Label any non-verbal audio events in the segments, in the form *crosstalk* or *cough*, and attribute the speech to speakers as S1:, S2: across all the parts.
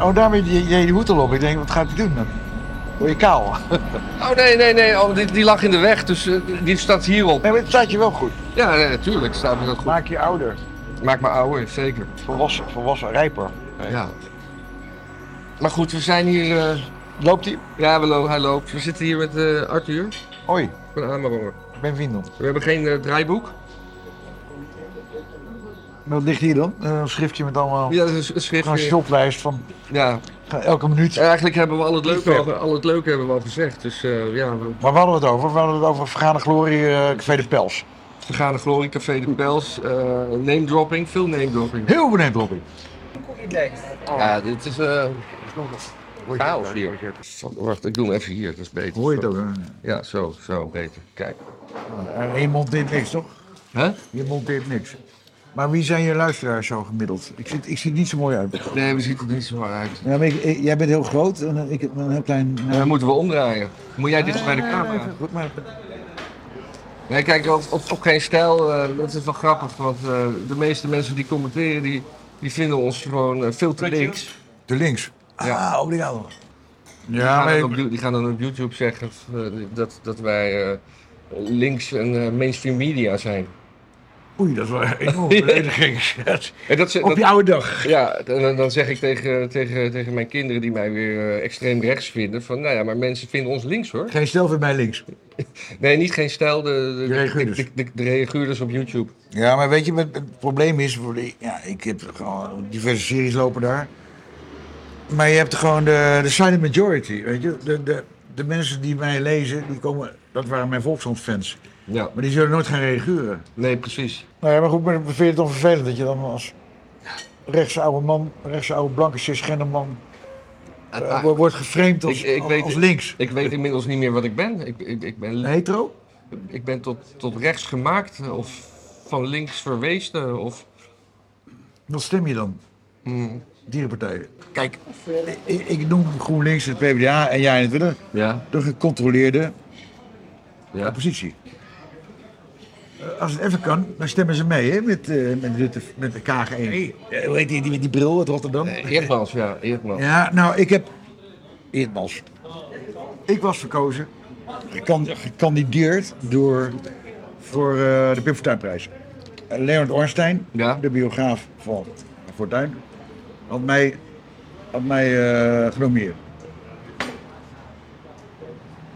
S1: Oh, daarmee deed je je hoed al op. Ik denk, wat gaat hij doen dan? Word je kaal?
S2: Oh nee, nee, nee. Oh, die, die lag in de weg, dus eh, die staat hierop.
S1: Nee, maar het staat je wel goed.
S2: Ja, nee, natuurlijk staat me dat goed.
S1: Maak je ouder.
S2: Maak me ouder, zeker.
S1: Volwassen, volwassen rijper.
S2: Ja. Maar goed, we zijn hier... eh,
S1: Loopt hij?
S2: ja, we lo- hij loopt. We zitten hier met eh, Arthur
S1: Hoi,
S2: van Amerongen.
S1: ik ben Vindon.
S2: We hebben geen eh, draaiboek.
S1: Wat ligt hier dan? Eh, Een schriftje met allemaal...
S2: Ja, dat is een schrift.
S1: Gewoon een
S2: eh,
S1: shoplijst van eh,
S2: Ja.
S1: elke minuut.
S2: En eigenlijk hebben we al het leuke,
S1: Liefde.
S2: al, al het leuke hebben we al gezegd. Dus eh, ja, we-
S1: Maar waar hadden we het over? We hadden het over Vergane Glorie eh, Café de Pels.
S2: Vergane Glorie, Café de Pels, eh name dropping, veel name dropping.
S1: Heel benieuwd, Robbie. Oh.
S2: Ja, dit is eh chaos hier. Wacht, ik doe hem even hier, dat is beter.
S1: Hoor je het ook? hè?
S2: Ja, zo, zo, beter. Kijk.
S1: En je monteert eh, niks, toch?
S2: Hè?
S1: Je monteert niks. Maar wie zijn je luisteraars zo gemiddeld? Ik zie, ik zie het niet zo mooi uit.
S2: Nee, we zien er niet zo uit.
S1: Ja, maar ik- ik- jij bent heel groot en eh, ik heb een heel klein...
S2: Dan moeten we omdraaien. Moet jij dichter bij de
S1: Nee,
S2: camera?
S1: nee, goed, maar-
S2: Nee, kijk, op, op, op geen stijl, eh, dat is wel grappig, want eh, de meeste mensen die commenteren, die, die vinden ons gewoon eh, veel te links.
S1: De links.
S2: Ja.
S1: Ah, obrigado.
S2: Die
S1: Ja,
S2: gaan
S1: maar
S2: dan op You- die gaan dan op YouTube zeggen eh, dat, dat wij eh, links en eh, mainstream media zijn.
S1: Oei, dat is wel een enorme belediging.
S2: En dat, ze-
S1: Op
S2: dat,
S1: je oude dag.
S2: ja, en dan- dan zeg ik tegen, tegen, tegen mijn kinderen die mij weer eh, extreem rechts vinden: van nou ja, maar mensen vinden ons links hoor.
S1: Geen stel weer bij links.
S2: Nee, niet geen stijl, de,
S1: De
S2: de,
S1: reageerders.
S2: de, de, de reageerders op YouTube.
S1: Ja, maar weet je, wat het probleem is, voor de- ja, ik heb gewoon diverse series lopen daar. Maar je hebt gewoon de, de silent majority, weet je. De, de, de mensen die mij lezen, die komen, dat waren mijn volkshandfans.
S2: Ja,
S1: Maar die zullen nooit gaan reageren.
S2: nee, precies.
S1: Nou ja, maar goed, maar vind je het dan vervelend dat je dan als rechtse oude man, rechtse oude blanke cisgender man, eh,
S2: Ah,
S1: wo- wordt geframed als,
S2: Ik- ik
S1: als,
S2: weet-
S1: als links.
S2: ik weet inmiddels niet meer wat ik ben. Ik, ik, ik ben,
S1: Hetero?
S2: ik ben tot, tot rechts gemaakt eh, of van links verwezen. Of,
S1: Wat stem je dan?
S2: Hmm.
S1: Dierenpartijen.
S2: Kijk.
S1: Ik, ik- ik noem GroenLinks, het PvdA en jij en het Willem
S2: Ja,
S1: de gecontroleerde
S2: ja.
S1: oppositie. Eh, Als het even kan, dan stemmen ze mee hè, met, eh, met, Rutte, met de KG1. Eh, Hoe heet die, die met die bril uit Rotterdam?
S2: Eerdmans, Eh, ja, Eerdmans.
S1: Ja, nou, ik heb... Eerdmans. Ik was verkozen, gekan- gekandideerd door, voor eh, de Pim Fortuynprijs. Eh, Leonard Ornstein,
S2: Ja.
S1: de biograaf van Fortuyn, had mij, had mij eh, genomineerd.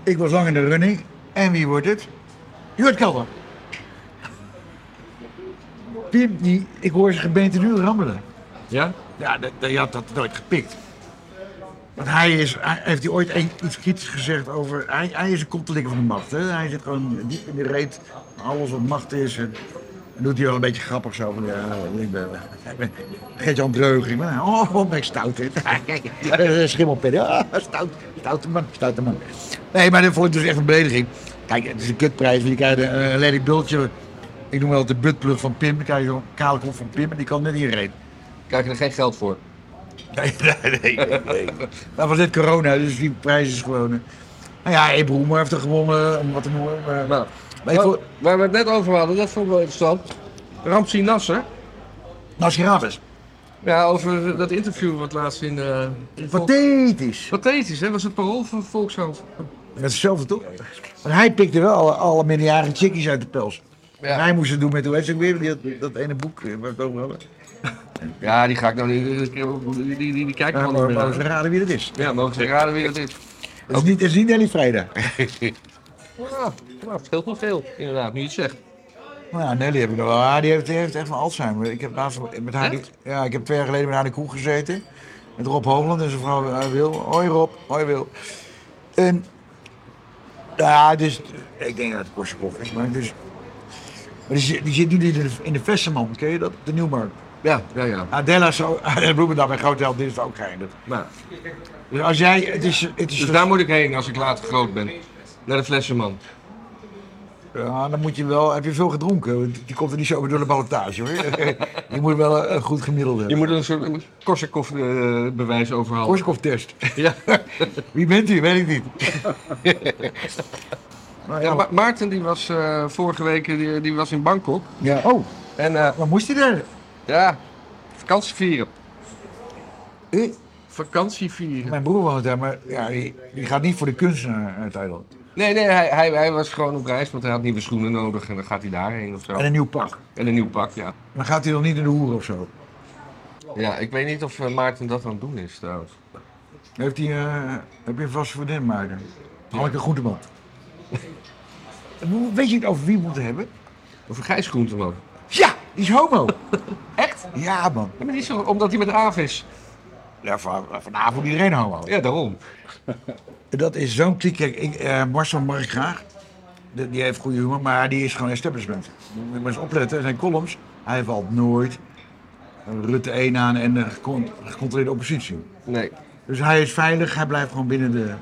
S1: Ik was lang in de running. En wie wordt het? Jurt Kelder. Pim, die, ik hoor zijn gebeente nu rammelen.
S2: Ja?
S1: Ja, dat- dat- je had dat nooit gepikt. Want hij is, hij- heeft hij ooit een- iets kritisch gezegd over. Hij, hij is een kopteling van de macht. Hè? Hij zit gewoon diep in de reet. van Alles wat macht is. En, en doet hij wel een beetje grappig zo. Van, ja, ik ben. Ik ben Gert-Jan Dreug. Ik ben, oh, wat ben ik stout. hè. *laughs* Kijk, Schimmelpedden. Ah, stout, stoute man, stoute man. Nee, maar dat vond ik dus echt een belediging. Kijk, het is een kutprijs. Je krijgt een, een lelijk bultje. Ik noem wel de buttplug van Pim. Dan krijg je zo'n kale kop van Pim. En die kan net iedereen.
S2: Krijg je er geen geld voor?
S1: *laughs* Nee, nee, nee. nee. Maar was dit corona, dus die prijs is gewoon. eh, Nou ja, Abe Roemer heeft er gewonnen, om wat te noemen. Maar,
S2: Nou,
S1: maar ik
S2: nou,
S1: vond.
S2: waar we het net over hadden, dat vond ik wel interessant. Ramsi Nasser,
S1: Nou, Nasirabes.
S2: ja, over dat interview wat laatst in... eh in Volks-
S1: Pathetisch.
S2: Pathetisch, hè? Was het parool van Volkskrant?
S1: Dat is hetzelfde toch? Maar hij pikte wel alle, alle minderjarige chickies uit de pels. En
S2: Ja.
S1: Hij moest het doen met, hoe heet ze ook weer, die had dat ene boek eh, waar we het over hadden.
S2: ja, die ga ik nou niet... Die, die, die, die kijk ik
S1: Ja,
S2: gewoon niet
S1: maar
S2: meer
S1: maar ze
S2: naar.
S1: raden wie dat is.
S2: Ja, mogen ze raden wie dat is?
S1: Het is niet, het is niet Nelly Vrijda.
S2: Ja, nou, het scheelt wel veel, inderdaad, nu je het zegt.
S1: Nou ja, Nelly heb ik nog wel. Ja, die heeft, die heeft echt van Alzheimer. Ik heb, laatst met haar,
S2: Echt?
S1: ja, ik heb twee jaar geleden met haar in de kroeg gezeten. Met Rob Hoogland en zijn vrouw eh, Wil. Hoi Rob, hoi Wil. En, ja, dus, ik denk dat het Korsakoff is, maar dus... Maar die, zit- die zit nu in de, in de Vesterman, ken je dat? De Nieuwmarkt.
S2: Ja, ja, ja.
S1: *laughs* Adela zou, en Bloemendam en Grootheld, dit is ook geëindigd.
S2: Nou,
S1: Dus als jij, het is, het is
S2: dus daar moet ik heen als ik later groot ben. Naar de flessenman.
S1: Ja, dan moet je wel, heb je veel gedronken? Want Die komt er niet zo door de ballotage hoor. *laughs* je moet wel een, een goed gemiddelde
S2: Je
S1: hebben.
S2: moet een soort Korsakoff-bewijs overhalen.
S1: Korsakoff-test.
S2: eh, Ja.
S1: Wie bent u? Weet ik niet.
S2: Ja, Ma- Maarten die was eh, vorige week eh, die, die was in Bangkok.
S1: ja. Oh,
S2: En eh,
S1: wat moest hij daar?
S2: ja, vakantie vieren.
S1: Eh,
S3: vakantie vieren.
S1: Mijn broer woont daar, maar ja, die, die gaat niet voor de kunstenaar uit Thailand.
S2: Nee, nee, hij, hij, hij was gewoon op reis, want hij had nieuwe schoenen nodig en dan gaat hij daarheen of zo.
S1: En een nieuw pak.
S2: En een nieuw pak, ja.
S1: Maar gaat hij dan niet in de hoer of zo?
S2: Ja, ik weet niet of eh, Maarten dat aan het doen is trouwens.
S1: Heeft hij, eh, heb je een vaste vriendin, Maarten? Hanneke *laughs* Goedeman. Weet je het over wie we moeten hebben?
S2: Of een Gijs Groenteman.
S1: Ja, die is homo.
S2: Echt?
S1: ja, man.
S2: Ja, maar niet zo, omdat hij met Aaf is.
S1: Ja, van, vanavond iedereen homo.
S2: Ja, daarom.
S1: Dat is zo'n kliek. Kijk, ik, eh, Marcel mag ik graag. Die, die heeft goede humor, maar die is gewoon establishment. Moet je maar eens opletten, zijn columns. Hij valt nooit Rutte 1 aan en de gecon- gecontroleerde oppositie.
S2: Nee.
S1: Dus hij is veilig, hij blijft gewoon binnen de. Eh,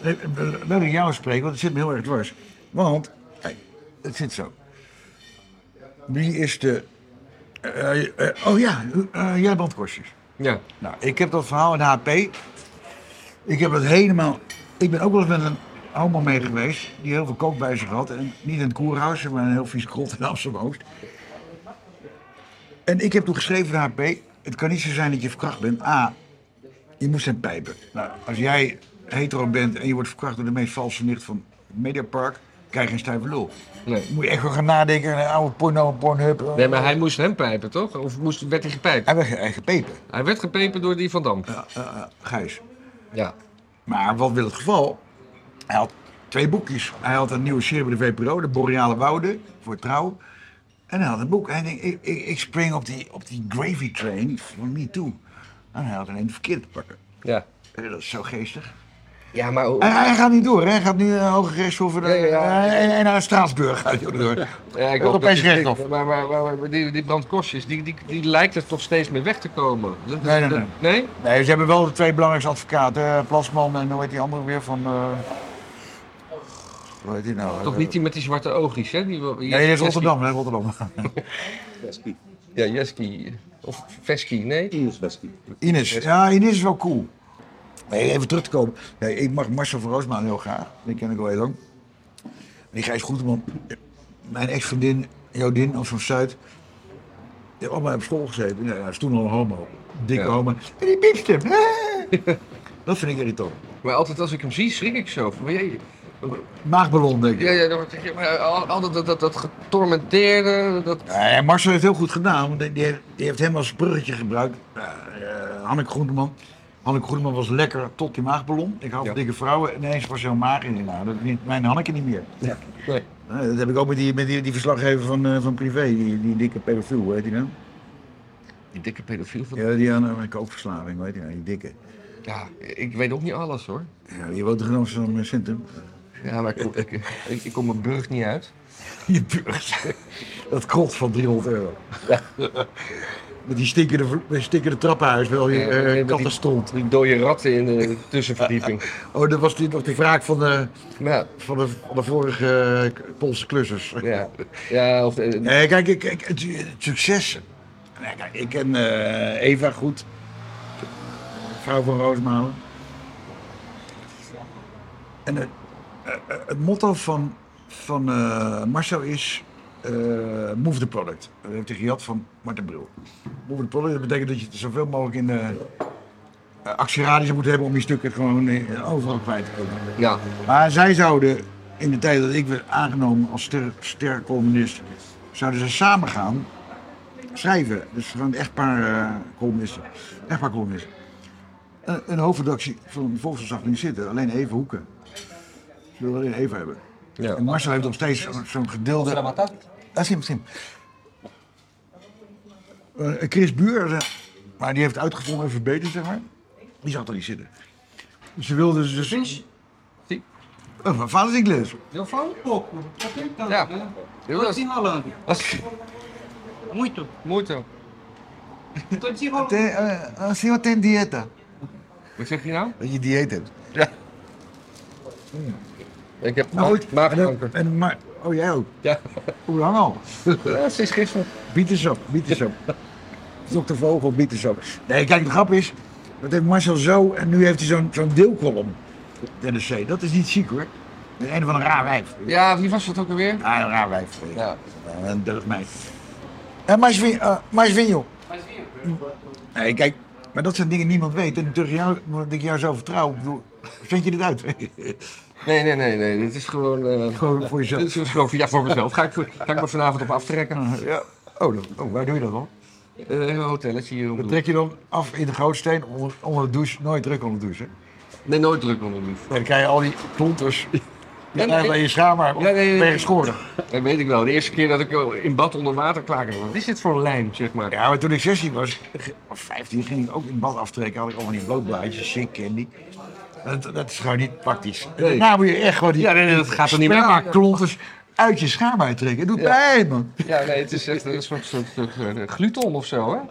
S1: Nee, Leuk dat ik jou spreek, want het zit me heel erg dwars. Want, kijk, het zit zo. Wie is de. eh, eh, oh ja, eh, jij bandkostjes.
S2: Ja.
S1: Nou, ik heb dat verhaal in de HP. Ik heb het helemaal. Ik ben ook wel eens met een homo mee geweest. Die heel veel kook bij zich had. En niet in het koerhuis, maar in een heel vies grot in Amsterdam Oost. En ik heb toen geschreven in de HP. Het kan niet zo zijn dat je verkracht bent. A. Je moest hem pijpen. Nou, als jij hetero bent en je wordt verkracht door de meest valse nicht van het Mediapark. krijg je een stijve lul.
S2: Nee.
S1: Moet je echt wel gaan nadenken. Een oude porno, een pornhub.
S2: Nee, maar hij moest hem pijpen, toch? Of moest, werd hij gepijpt?
S1: Hij werd ge- hij gepepen.
S2: Hij werd gepijpen door die Van Dam.
S1: Ja, eh, eh, Gijs.
S2: Ja.
S1: Maar wat wil het geval? Hij had twee boekjes. Hij had een nieuwe serie bij de VPRO, de Boreale Wouden, voor trouw. En hij had een boek. Hij denkt, ik, ik, ik spring op die, op die gravy train van me toe. En hij had alleen het verkeerde te pakken.
S2: Ja.
S1: Eh, Dat is zo geestig.
S2: Ja, maar... hoe-
S1: Hij, hij gaat niet door, hè? hij gaat nu naar Hoge Rechtshof en,
S2: Ja, ja, ja.
S1: eh, en, en naar Straatsburg gaat hij ook door.
S2: Ja, ik hoop
S1: Europees
S2: dat die-
S1: rechthof.
S2: Maar, maar, maar- maar die, die brandkostjes, die, die, die lijkt er toch steeds meer weg te komen. Dat is-
S1: Nee, nee,
S2: dat-
S1: nee.
S2: nee?
S1: Nee, ze hebben wel de twee belangrijkste advocaten, eh, Plasman en hoe heet die andere weer van... eh, Hoe heet die nou?
S2: Toch niet die met die zwarte oogjes, hè? Die, die-
S1: Nee, dit is
S2: Jeski.
S1: Rotterdam, hè, Rotterdam.
S2: Ja, Jeski. Of Veski, nee?
S1: Ines. Ja, Ines is wel cool. Nee, even terug te komen. Nee, ik mag Marcel van Roosmaan heel graag. Die ken ik al heel lang. Die Gijs Groenteman. Mijn ex-vriendin, Jodin of van Zuid. Die hebben allemaal op school gezeten. Nou, ja, is toen al een homo. Dikke
S2: Ja.
S1: homo. En die piepst hem. *laughs* Dat vind ik irritant.
S2: Maar altijd als ik hem zie, schrik ik zo. Van, jee.
S1: Maagballon, denk ik.
S2: Ja, ja, dan word ik- maar eh, al- altijd dat, dat, dat getormenteerde, dat...
S1: Eh, Ja, en Marcel heeft heel goed gedaan, want die, die heeft, die heeft hem als bruggetje gebruikt. Eh, eh, Hanneke Groeneman. Hanneke Groeneman was lekker tot die maagballon. Ik had
S2: Ja.
S1: dikke vrouwen en ineens was heel maag in. Nou, dat is mijn Hanneke niet meer.
S2: Nee.
S1: Eh, dat heb ik ook met die, met die, die verslaggever van, eh, van Privé, die, die dikke pedofiel, hoe heet die nou?
S2: Die dikke pedofiel van... Ja.
S1: Ja, die aan een koopverslaving, hoe heet die nou, die dikke.
S2: ik weet ook niet alles, hoor.
S1: Ja, die woont er in Amsterdam eh, Centrum. *laughs*
S2: Ja, maar ik, kom- ik, ik, ik kom mijn burg niet uit.
S1: Je burgers. Dat krot van 300 euro. Met die stinkende, vlo- met die stinkende trappenhuis, wel je
S2: Ja, ja,
S1: eh
S2: met die-
S1: katten stond.
S2: Die dode ratten in de tussenverdieping.
S1: Oh, dat was die, nog die wraak van de...
S2: Ja,
S1: van de, van de vorige eh, Poolse klussers.
S2: ja. Ja, of... eh,
S1: Nee, kijk, ik- ik- het, het succes. Nee, kijk, ik ken eh, Eva goed. Vrouw van Roosmalen. En het, eh, eh, het motto van, van eh, Marcel is... eh, move the product. Dat heeft hij gehad van Martin Bril. Move the product, dat betekent dat je het zoveel mogelijk in de eh, actieradius moet hebben om je stukken gewoon eh, overal kwijt te komen.
S2: Ja,
S1: Maar zij zouden, in de tijd dat ik werd aangenomen als ster, stercolumnist, zouden ze samen gaan schrijven. Dus gewoon een echtpaar eh, columnisten. Echtpaar columnisten. Een, een hoofdredactie van de Volksverslag ging zitten, alleen even hoeken. Ze wilden alleen even hebben.
S2: ja.
S1: En Marcel heeft nog steeds zo'n- zo'n gedeelde... Ah, sim, sim. Eh, Chris Buur, eh, maar die heeft het uitgevonden en verbeterd, zeg maar. Die zag er niet zitten. Ze wilden dus...
S2: Zie.
S1: Oh, van vaders Inglis.
S4: Eu falo um pouco, só tentando,
S2: É.
S4: né?
S2: Eu-
S4: Tô desenrolando.
S2: Als-
S4: Muito.
S2: Moeite.
S4: Tô desenrolando.
S1: Ten, eh, eh, senhor ten dieta.
S2: Wat zeg je nou? Hmm.
S1: Dat je dieet hebt.
S2: Ik heb
S1: Nou goed. En,
S2: maagkanker.
S1: dan- en, maar, oh, jij ook.
S2: Ja.
S1: Hoe lang al?
S2: ja, sinds gisteren.
S1: Bietensap, bietensap. Dokter Vogel, bietensap. Nee, kijk, de grap is, dat heeft Marcel zo en nu heeft hij zo'n zo'n deelkolom. Dennis C. Dat is niet ziek hoor. Dat is een van een raar wijf.
S2: Ja, wie was dat ook alweer?
S1: Ah, een raar wijf. Ja. Een
S2: Ja.
S1: Eh, deugd mij. En Marcel Vin- eh, Marcel Vinjo.
S4: Mas vinha.
S1: Nee, kijk, Maar dat zijn dingen die niemand weet. En tegen jou, omdat ik jou zo vertrouw, ik bedoel, vind je dit uit?
S2: Nee, nee, nee, nee. Dit is gewoon.
S1: *laughs*
S2: eh,
S1: Gewoon voor
S2: dit is
S1: jezelf.
S2: gewoon voor- ja, voor mezelf. Ga ik, ga ik me vanavond op aftrekken.
S1: Ja. Oh, dat- oh, waar doe je dat dan?
S2: Eh, een hotelletje hier om de
S1: Dat
S2: hoek.
S1: trek je dan af in de gootsteen onder, onder de douche. Nooit druk onder de douche. hè?
S2: Nee, nooit druk onder de lief.
S1: En dan krijg je al die *laughs* klonters. Die
S2: nee,
S1: eigenlijk bij je schaam maar
S2: Ja, nee, nee,
S1: ben
S2: nee.
S1: je geschoren.
S2: Dat weet ik wel. De eerste keer dat ik eh, in bad onder water klaar Wat is dit voor een lijm, zeg maar?
S1: Ja, maar toen ik 16 was, of 15, ging ik ook in het bad aftrekken. Had ik allemaal die blootblaadjes, sick candy. Dat, dat is gewoon niet praktisch. En
S2: Nee.
S1: Daarna moet je echt gewoon die
S2: Ja, nee, nee, dat gaat er niet meer aan.
S1: spermaklonters uit je schaam uittrekken. Het doet
S2: Ja. Eh,
S1: pijn, man.
S2: Ja, nee, het is echt een soort, soort, soort, eh, gluten of zo, hè? eh.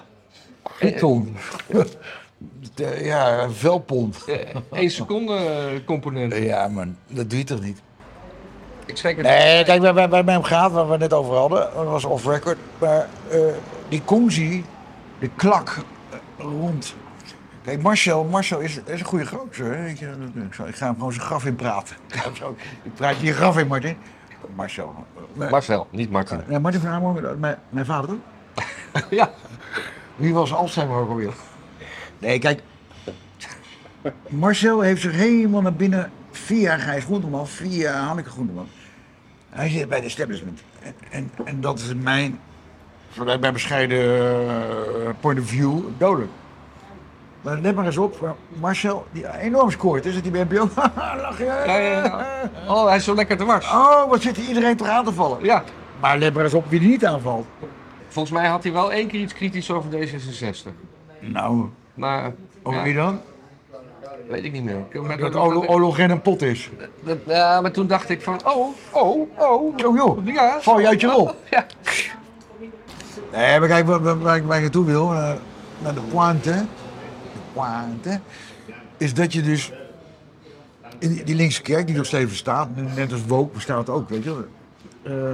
S1: Python. *laughs* Ja, velpont.
S2: Eh, Eén seconde eh, component.
S1: Ja, man, dat doe je toch niet?
S2: Ik schrik het.
S1: Nee, kijk, wij, wij, wij hebben hem gehad, waar we het net over hadden. Dat was off record. Maar eh, die Konzi, de klak eh, rond. Kijk, Marcel, Marcel is, is een goede gozer. hè, Weet je, dat- ik, zal- ik ga hem gewoon zijn graf in praten. *laughs* Ik ga hem zo- ik praat je graf in, Martin. Marcel. eh, Maar-
S2: Marcel, niet Martin.
S1: Nee, Martin van Amersfoort, mijn, mijn vader ook.
S2: *laughs* Ja.
S1: Wie was Alzheimer ook alweer? Nee, kijk. Marcel heeft zich helemaal naar binnen via Gijs Groenteman, via Hanneke Groenteman. Hij zit bij de establishment. En, en, en dat is mijn, vanuit mijn bescheiden eh, point of view, dodelijk. Maar let maar eens op, waar Marcel, die enorm scoort, is dat die bij NPO? *laughs* Lach je?
S2: Ja, ja, ja. Oh, hij is zo lekker te was.
S1: Oh, wat zit hier iedereen toch aan te vallen?
S2: Ja.
S1: Maar let maar eens op wie er niet aanvalt.
S2: Volgens mij had hij wel één keer iets kritisch over D66.
S1: Nou,
S2: Maar,
S1: over
S2: ja,
S1: wie dan?
S2: weet ik niet meer. Ik- maar
S1: Dat
S2: toen-
S1: Olo- Ologen een pot is.
S2: dat- Ja, maar toen dacht ik van, oh, oh, oh.
S1: Oh joh,
S2: Ja.
S1: val je uit je rol?
S2: *laughs* Ja.
S1: Nee, maar kijk, waar, waar, waar ik, waar ik naartoe wil, eh, naar de pointe, de pointe, is dat je dus in die, die linkse kerk, die nog steeds bestaat, net als woke bestaat ook, weet je wel. Eh,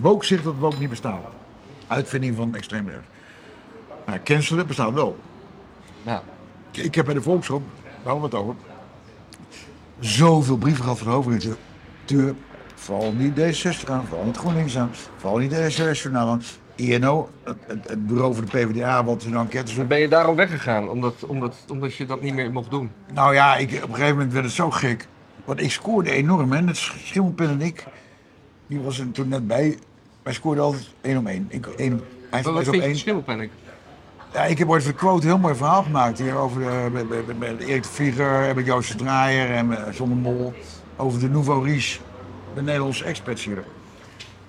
S1: woke zegt dat woke niet bestaat. Uitvinding van extreem rechts. Maar cancelen bestaat wel.
S2: Ja.
S1: Ik- Ik heb bij de Volkskrant, daar hadden we het over, zoveel brieven gehad van de hoofdredacteur. Vooral niet D60 aan, vooral niet GroenLinks aan, vooral niet D66-journaal aan. INO, het, het- het bureau voor de PvdA, wat hun enquêtes doet.
S2: Ben je daarom weggegaan, omdat, omdat, omdat je dat niet meer mocht doen?
S1: Nou ja, ik, op een gegeven moment werd het zo gek. Want ik scoorde enorm, hè. Net Schimmelpin en ik, die was er toen net bij. Wij scoorden altijd één om één. Ik, één, op- hij
S2: Maar
S1: hij
S2: wat
S1: is op
S2: vind je
S1: één.
S2: verschil, ben ik?
S1: Ja, ik heb ooit voor de quote een heel mooi verhaal gemaakt hier over de, met, met, met Erik de Vlieger en met Joost de Draaier en met John de Mol. Over de Nouveau Riche, de Nederlandse expats hier.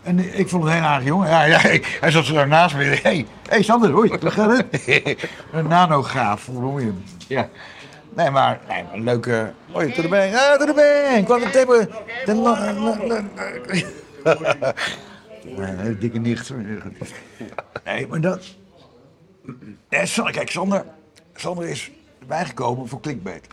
S1: En ik vond het een hele aardig jongen. Ja, ja, ik- hij zat zo daarnaast me. Hé, hey, hey, Sander, hoi, hoe gaat het? een nanograaf, hoe noem je hem?
S2: Ja.
S1: Nee, maar nee, maar een leuke... Hoi, tot de bang. Ah, tot de bang. Kwam de tippen. De la- la- la- la- *laughs* Nee, een hele dikke nicht. Nee, maar dat... Nee, Sander- kijk, Sander, Sander is bijgekomen voor clickbait.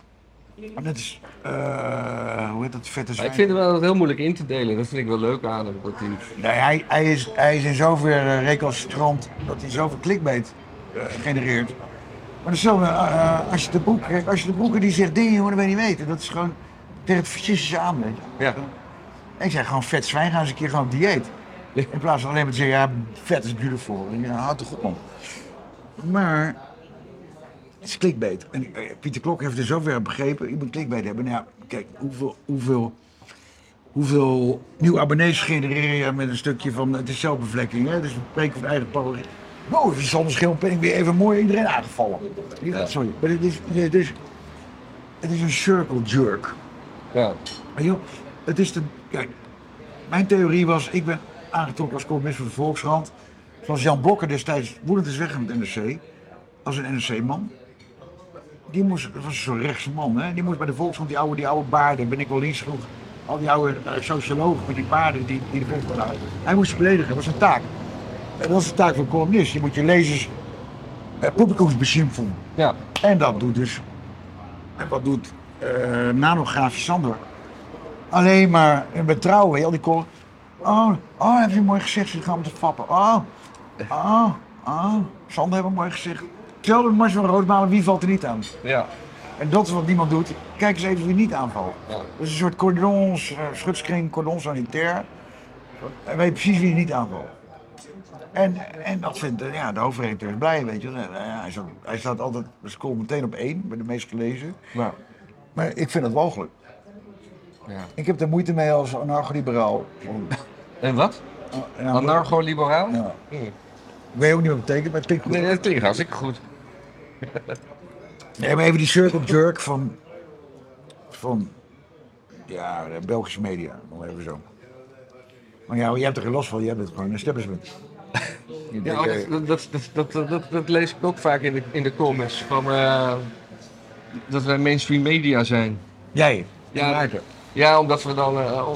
S1: En dat is... eh, hoe heet dat vette
S2: Maar
S1: zwijn?
S2: ik vind hem wel heel moeilijk in te delen. Dat vind ik wel leuk aan hem. Dat hij...
S1: Nee, hij, hij, is, hij is in zoverre recalcitrant dat hij zoveel clickbait eh, genereert. Maar dat is zo, als je de broek, kijk, als je de broeken die zegt dingen, jongen, dat wil je niet weten. Dat is gewoon tegen het fascistische aan, weet je.
S2: Ja.
S1: Ik zei gewoon vet zwijn, gaan eens een keer gewoon op dieet. In plaats van alleen maar te zeggen, ja, vet is beautiful. Ja, nou, houd toch op, man. Maar het is clickbait. En eh, Pieter Klok heeft er zover begrepen, ik moet clickbait hebben. Nou ja, kijk, hoeveel, hoeveel, hoeveel nieuwe abonnees genereer je met een stukje van, het is zelfbevlekking, hè? dus we spreken van eigen power. Wow, het is anders ben ik weer even mooi iedereen aangevallen. Ja, sorry, maar het is, het is, het is een circle jerk.
S2: ja.
S1: Maar joh, het is de. Kijk, mijn theorie was: ik ben aangetrokken als columnist van de Volkskrant. Zoals Jan Blokker destijds woedend is weggegaan met NRC. Als een NRC-man. Die moest, dat was zo'n rechtse man, hè? Die moest bij de Volkskrant die oude, die oude baarden, ben ik wel links genoeg. Al die oude eh, sociologen met die baarden die, die de Volkskrant hadden. Hij moest ze beledigen, dat was zijn taak. En dat is de taak van een columnist. Je moet je lezers eh, publikumsbeschimpfen.
S2: ja.
S1: En dat doet dus. En wat doet eh nanograafje Sander? Alleen maar betrouwen, al die kool. Oh, oh, heb je een mooi gezicht? Ze gaan te fappen. Oh, oh, oh. Sander heeft een mooi gezicht. Hetzelfde met Mars van Roodmalen, wie valt er niet aan?
S2: ja.
S1: En dat is wat niemand doet. Kijk eens even wie niet aanvalt.
S2: Ja.
S1: Dat is een soort cordons, eh, schutskring, cordon sanitair. En weet precies wie er niet aanvalt. En, en dat vindt eh, ja, de hoofdredacteur is blij, weet je. wel. Nou ja, hij, staat, hij staat altijd, hij scoort meteen op één, bij de meest gelezen.
S2: Nou,
S1: Maar ik vind het walgelijk.
S2: ja.
S1: Ik heb er moeite mee als
S2: *laughs*
S1: anarcho-liberaal. Om-
S2: En wat?
S1: ja,
S2: Anarcho-liberaal?
S1: Ja.
S2: Hm.
S1: Ik weet ook niet wat het betekent, maar het klinkt goed.
S2: Nee, dat klinkt hartstikke goed.
S1: Nee, maar even die circle jerk van. van. ja, de Belgische media. Maar even zo. Maar ja, jij hebt er geen last van, jij bent gewoon een establishment. Je
S2: *laughs* Ja,
S1: denkt,
S2: oh,
S1: eh,
S2: dat, dat, dat, dat, dat, dat, dat lees ik ook vaak in de, in de comments. Van, eh, dat wij mainstream media zijn.
S1: Jij.
S2: Ja.
S1: Maarten.
S2: Ja, omdat we, dan, eh, oh,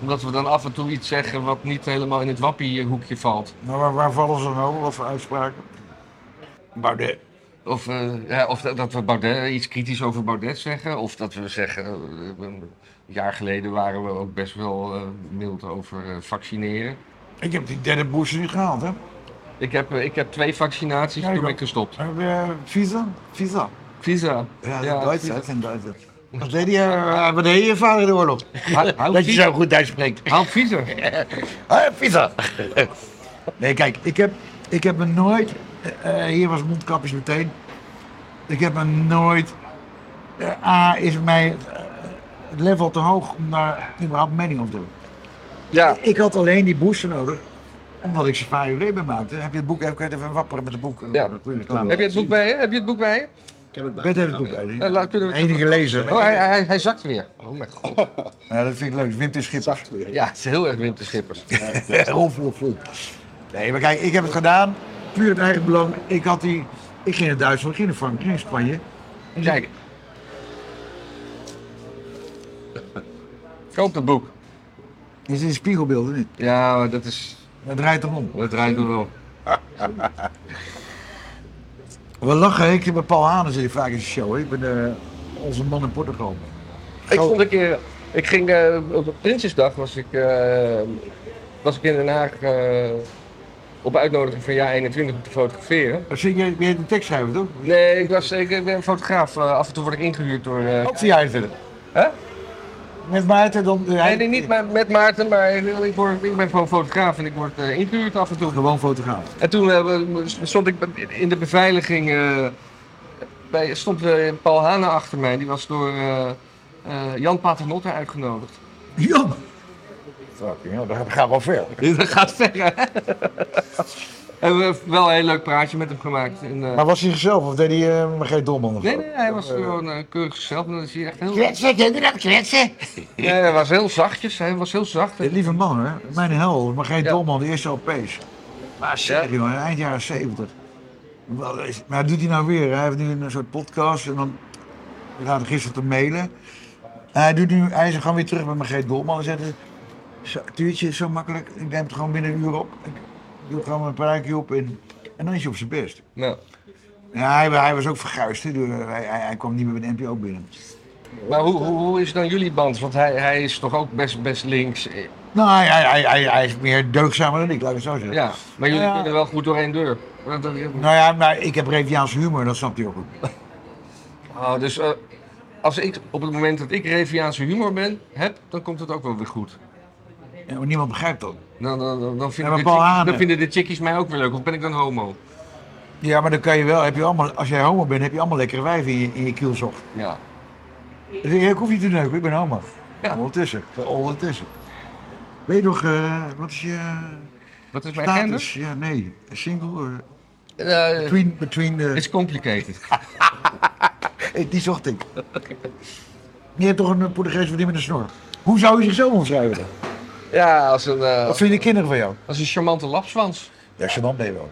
S2: omdat we dan af en toe iets zeggen wat niet helemaal in het wappiehoekje valt.
S1: Maar waar, waar vallen ze dan over? Wat voor uitspraken? Baudet.
S2: Of, eh, ja, of dat, dat we Baudet, iets kritisch over Baudet zeggen. Of dat we zeggen, eh, een jaar geleden waren we ook best wel eh, mild over eh, vaccineren.
S1: Ik heb die derde booster niet gehaald, hè?
S2: Ik heb, eh, ik heb twee vaccinaties,
S1: Ja, ik
S2: toen ben
S1: ook.
S2: ik gestopt.
S1: Heb je eh, visa? Visa.
S2: Visa.
S1: Ja,
S2: Ja,
S1: Duits, hè? Dat zijn Duitsers. Wat deed je, eh, wat deed je vader in de oorlog?
S2: Hou- hou
S1: Dat je
S2: visa.
S1: zo goed Duits spreekt.
S2: Haal visa.
S1: Ah, pizza. nee, kijk, ik heb, ik heb me nooit. eh, eh, hier was mondkapjes meteen. Ik heb me nooit. eh, A, is mij eh, het level te hoog om daar überhaupt een mening op te doen.
S2: Ja,
S1: Ik had alleen die booster nodig, omdat ik Safari Ray ben maakte. Heb je het boek even, kun je het even wapperen met het boek?
S2: Ja.
S1: Dan kun je het klaar
S2: heb je het boek bij je? Heb je het boek bij je?
S1: Ik ben even het boek uit.
S2: Eh, laat- kunnen we-
S1: Enige gelezen.
S2: Oh, hij, hij, hij zakt weer. Oh mijn god.
S1: Ja, dat vind ik leuk. Wim T. Schipper.
S2: Ja, het is heel erg Wim de Schippers.
S1: *laughs* Rolf, Rolf, Rolf. Nee, maar kijk, ik heb het gedaan. Puur het eigen belang. Ik, had die, ik ging naar Duitsland, ik ging naar Frankrijk, ik ging naar Spanje.
S2: Kijk. Koop het boek.
S1: Is in spiegelbeelden niet?
S2: Ja, maar dat is...
S1: Dat draait erom.
S2: Dat draait er wel.
S1: We lachen. Ik heb met Paul Hanen zit ik vaak in de show. Ik ben eh, onze man in Portugal.
S2: Ik vond een keer... Ik ging... eh, op Prinsjesdag was ik... eh, was ik in Den Haag... eh, op uitnodiging van jaar 21 om te fotograferen.
S1: Oh, Zing jij, ben jij de tekst schrijven, toch?
S2: Nee, ik, was, ik, ik ben fotograaf. Eh, af en toe word ik ingehuurd door... eh,
S1: Wat zie jij verder?
S2: hè?
S1: Met Maarten dan... eh,
S2: Nee, nee, niet ma- met Maarten, maar ik, word, ik ben gewoon fotograaf en ik word eh, ingehuurd af en toe.
S1: Gewoon fotograaf.
S2: En toen eh, stond ik in de beveiliging, eh, bij, stond eh, Paul Hane achter mij. Die was door eh, eh, Jan Paternotte uitgenodigd. *laughs*
S1: Ja. Fucking hell, dat gaat wel ver.
S2: *laughs* Dat gaat ver, hè? Hebben we wel een heel leuk praatje met hem gemaakt. En, eh,
S1: Maar was hij zichzelf of deed hij eh, maar geen domman of
S2: nee,
S1: zo?
S2: nee, hij was gewoon eh, keurig zelf. En dat is hij echt heel...
S1: Kletsen, kinderen, kletsen.
S2: Ja, hij was heel zachtjes. Hij was heel zacht.
S1: Eh, Lieve man, hè? Mijn hel, maar geen
S2: Ja.
S1: Dolman, de eerste OP's. Maar zeg, jongen, eind jaren 70. Wat is- Maar dat doet hij nou weer. Hij heeft nu een soort podcast en dan. Ik had hem gisteren te mailen. Hij, doet nu, hij is gewoon weer terug bij mijn Geet Dolman en zegt: "Zo, Tuurtje is zo makkelijk. Ik neem het gewoon binnen een uur op. Ik doe gewoon mijn pruikje op en, en dan is hij op zijn best.
S2: Nou,
S1: Ja, hij, hij was ook verguisd. hè, door- Hij, hij, hij kwam niet meer bij de NPO binnen.
S2: maar hoe, hoe, hoe is dan jullie band? Want hij, hij is toch ook best, best links. eh,
S1: Nou, hij, hij, hij, hij, hij is meer deugdzamer dan ik, laat ik het zo zeggen.
S2: Ja, maar jullie
S1: Ja.
S2: kunnen wel goed door één deur. Want eh, dat-
S1: Nou ja, maar ik heb Reviaanse humor, dat snapt hij ook goed.
S2: Ah, dus eh, als ik, op het moment dat ik Reviaanse humor ben, heb, dan komt het ook wel weer goed.
S1: Ja, maar niemand begrijpt dat.
S2: Dan, dan, dan, dan, vinden
S1: Ja, maar
S2: de
S1: Paul
S2: chickies-
S1: Hane.
S2: dan vinden de chickies mij ook weer leuk, of ben ik dan homo?
S1: Ja, maar dan kan je wel, heb je allemaal, als jij homo bent, heb je allemaal lekkere wijven in je, in je kielzocht.
S2: Ja.
S1: Dus ik, ik hoef niet te neuken, ik ben homo.
S2: Ja.
S1: Ondertussen, ondertussen. Weet je nog, eh, wat is je
S2: Wat is mijn
S1: status?
S2: gender?
S1: Ja, nee, single, eh,
S2: Eh,
S1: between, between, eh,
S2: It's complicated.
S1: eh, die zocht ik. Je hebt toch een eh, Portugese vriendin met een snor? Hoe zou je zichzelf omschrijven dan?
S2: *laughs* Ja, als een, eh,
S1: Wat vinden kinderen van jou?
S2: als een charmante lapswans.
S1: Ja, Chaman ben je wel.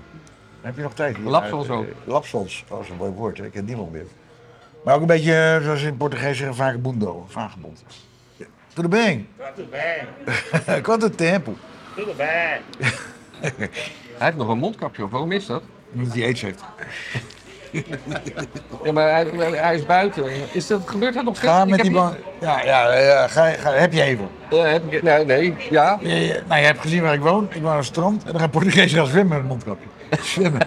S1: Heb je nog tijd? hier?
S2: Lapsels
S1: Eh,
S2: ook.
S1: Lapsels, oh, dat is een mooi woord, hè? ik ken niemand meer. Maar ook een beetje, eh, zoals ze in Portugees zeggen, vagabundo, vagebond. Ja. Tudo bem?
S3: Tudo bem,
S1: *laughs* Quanto tempo?
S3: tudo bem.
S2: Hij heeft nog een mondkapje op, waarom is dat?
S1: Omdat hij aids heeft.
S2: Ja, maar hij, hij is buiten. Is dat, gebeurt dat nog steeds?
S1: Ga
S2: Ik
S1: met
S2: heb
S1: die
S2: niet-
S1: man. Ja, ja, ja ga, ga, heb je even.
S2: Eh, heb ik- nee, nee, ja.
S1: Je, je- nou, je hebt gezien waar ik woon. Ik woon aan het strand. En dan gaan Portugezen gaan zwemmen met een
S2: *laughs*
S1: mondkapje. Zwemmen.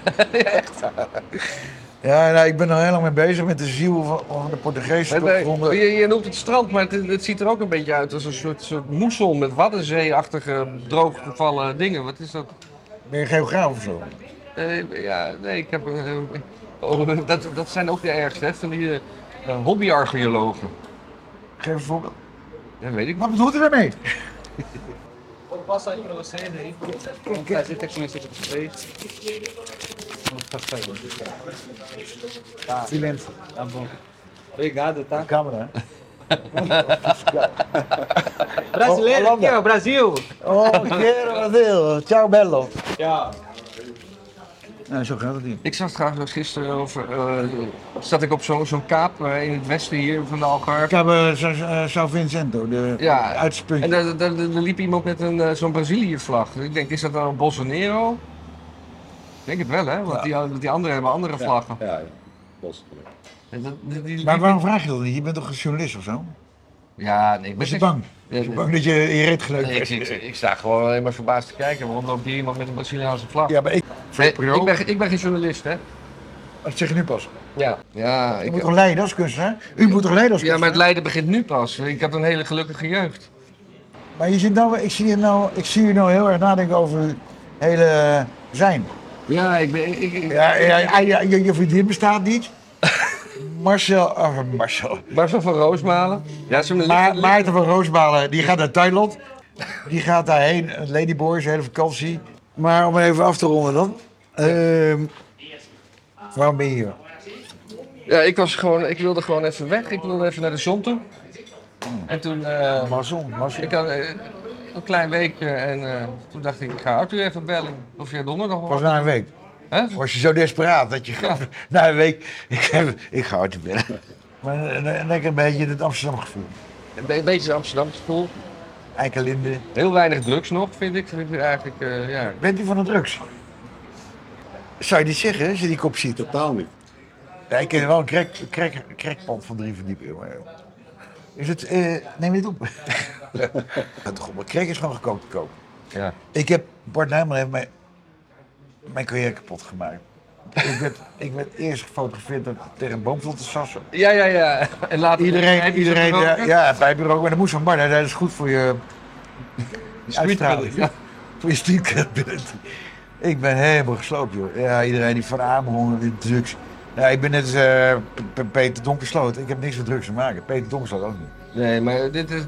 S1: Ja, nou, ik ben er heel lang mee bezig met de ziel van, van de Portugese
S2: Nee, nee,
S1: gronden.
S2: Je, je noemt het strand, maar het, het ziet er ook een beetje uit als een soort, soort moesel met waddenzeeachtige drooggevallen dingen. Wat is dat?
S1: Ben je geograaf of zo?
S2: Eh, ja, nee, ik heb. eh, oh, *laughs* dat, dat zijn ook de ergste, hè? Van die eh, hobbyarcheologen.
S1: Geef een voorbeeld.
S2: Dat weet ik
S1: Wat bedoelt u daarmee?
S4: Vou passar aí pra vocês aí. Vamos fazer até conhecer com vocês. Vamos passar aí. Tá,
S1: Silence.
S4: tá bom. Obrigado, tá?
S1: Camera. hè?
S4: Brasileiro aqui, ó, Brasil!
S1: Oh, quero Brazil. Ciao bello.
S4: Tchau.
S1: Nou, zo gaat het hier.
S2: Ik zag trouwens gisteren over. eh, zat ik op zo'n zo'n kaap eh, in het westen hier van de Algarve.
S1: Ik heb eh, Sa- Sa- Sao Vincento, de
S2: Ja.
S1: uitspuntje.
S2: En daar, daar, daar- daar liep iemand met een, eh, zo'n Brazilië-vlag. Dus ik denk, is dat dan een Bolsonaro? Ik denk het wel, hè? Want die, want die anderen hebben andere vlaggen.
S3: Ja, ja. Bos.
S2: En dat- die- die-
S1: Maar waarom vraag je dat niet? Je bent toch een journalist of zo?
S2: Ja, nee, ik
S1: Was je
S2: niks-
S1: bang?
S2: Ja,
S1: Was je bang dat je je reet geneukt
S2: nee, ik, ik,
S1: werd?
S2: ik sta gewoon alleen maar verbaasd te kijken. Waarom loopt hier iemand met een Braziliaanse vlag?
S1: Ja, maar ik...
S2: Nee,
S1: Pro.
S2: ik, ben, ik ben geen journalist, hè?
S1: Dat zeg je nu pas.
S2: Ja, ja,
S1: Je
S2: ik,
S1: moet toch leiden als kunstenaar? U moet toch leiden als
S2: ja maar het
S1: kunstenaar?
S2: lijden begint nu pas. Ik had een hele gelukkige jeugd.
S1: Maar je zit nou, ik zie je nou, ik zie je nou heel erg nadenken over uw hele eh, zijn.
S2: Ja, ik ben... Ik, ik-
S1: Ja, ja, ja, ja, je, je vriendin bestaat
S2: *laughs*
S1: niet. Marcel, oh, Marcel.
S2: Marcel van Roosmalen. Ja, ze
S1: Ma Maarten van Roosbalen, die gaat naar Thailand. Die gaat daarheen, Ladyboys, hele vakantie. Maar om even af te ronden dan. ehm, waarom ben je hier?
S2: Ja, ik, was gewoon, ik wilde gewoon even weg. Ik wilde even naar de zon toe. En toen... eh,
S1: Marcel, Marcel.
S2: ik had eh, een klein weekje en eh, toen dacht ik, ik ga Arthur even bellen. Of jij donderdag
S1: Pas
S2: hoor.
S1: na een week.
S2: Hè?
S1: Was je zo desperaat dat je
S2: Ja.
S1: na een week, ik, heb, ik ga uit te bellen. Maar eh, le- lekker een beetje het Amsterdam gevoel.
S2: Een be- beetje Amsterdamse school.
S1: Eikelinde.
S2: Heel weinig drugs nog, vind ik. Vind ik eigenlijk, eh, ja.
S1: Bent u van de drugs? Zou je dit zeggen, als je die kop ziet?
S3: Totaal niet.
S1: Ja, ik ken wel een crack, crack, crackpand van drie verdiepingen. maar- Is het, eh, neem dit
S3: *laughs*
S1: op. ja, toch, maar crack is gewoon goedkoop te koop.
S2: ja.
S1: Ik heb, Bart Nijman heeft mijn, mijn carrière kapot gemaakt. ik, werd, ik werd eerst gefotografeerd door- tegen een boom te sassen.
S2: Ja, ja, ja. En later
S1: Iedereen,
S2: heb je ze
S1: iedereen
S2: er ook,
S1: ja,
S2: hè?
S1: ja, pijper ook. Maar dat moest van Bart, hij zei, dat is goed voor je *laughs* uitstraling.
S2: Ja.
S1: Voor je street credibility. Ik ben helemaal gesloopt, joh. Ja, iedereen die van Amerongen, die drugs. Nou, ik ben net als, eh, P- P- Peter Donkersloot. Ik heb niks met drugs te maken. Peter Donkersloot ook niet.
S2: Nee, maar dit is,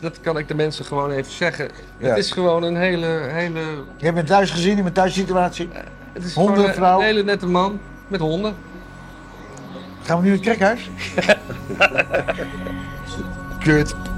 S2: dat kan ik de mensen gewoon even zeggen.
S1: Ja.
S2: Het is gewoon een hele, hele...
S1: Je hebt me thuis gezien in mijn thuissituatie.
S2: Het is
S1: Honden,
S2: gewoon een-
S1: vrouw.
S2: een hele nette man met honden. *laughs*
S1: Gaan we nu naar het krekhuis? Kut.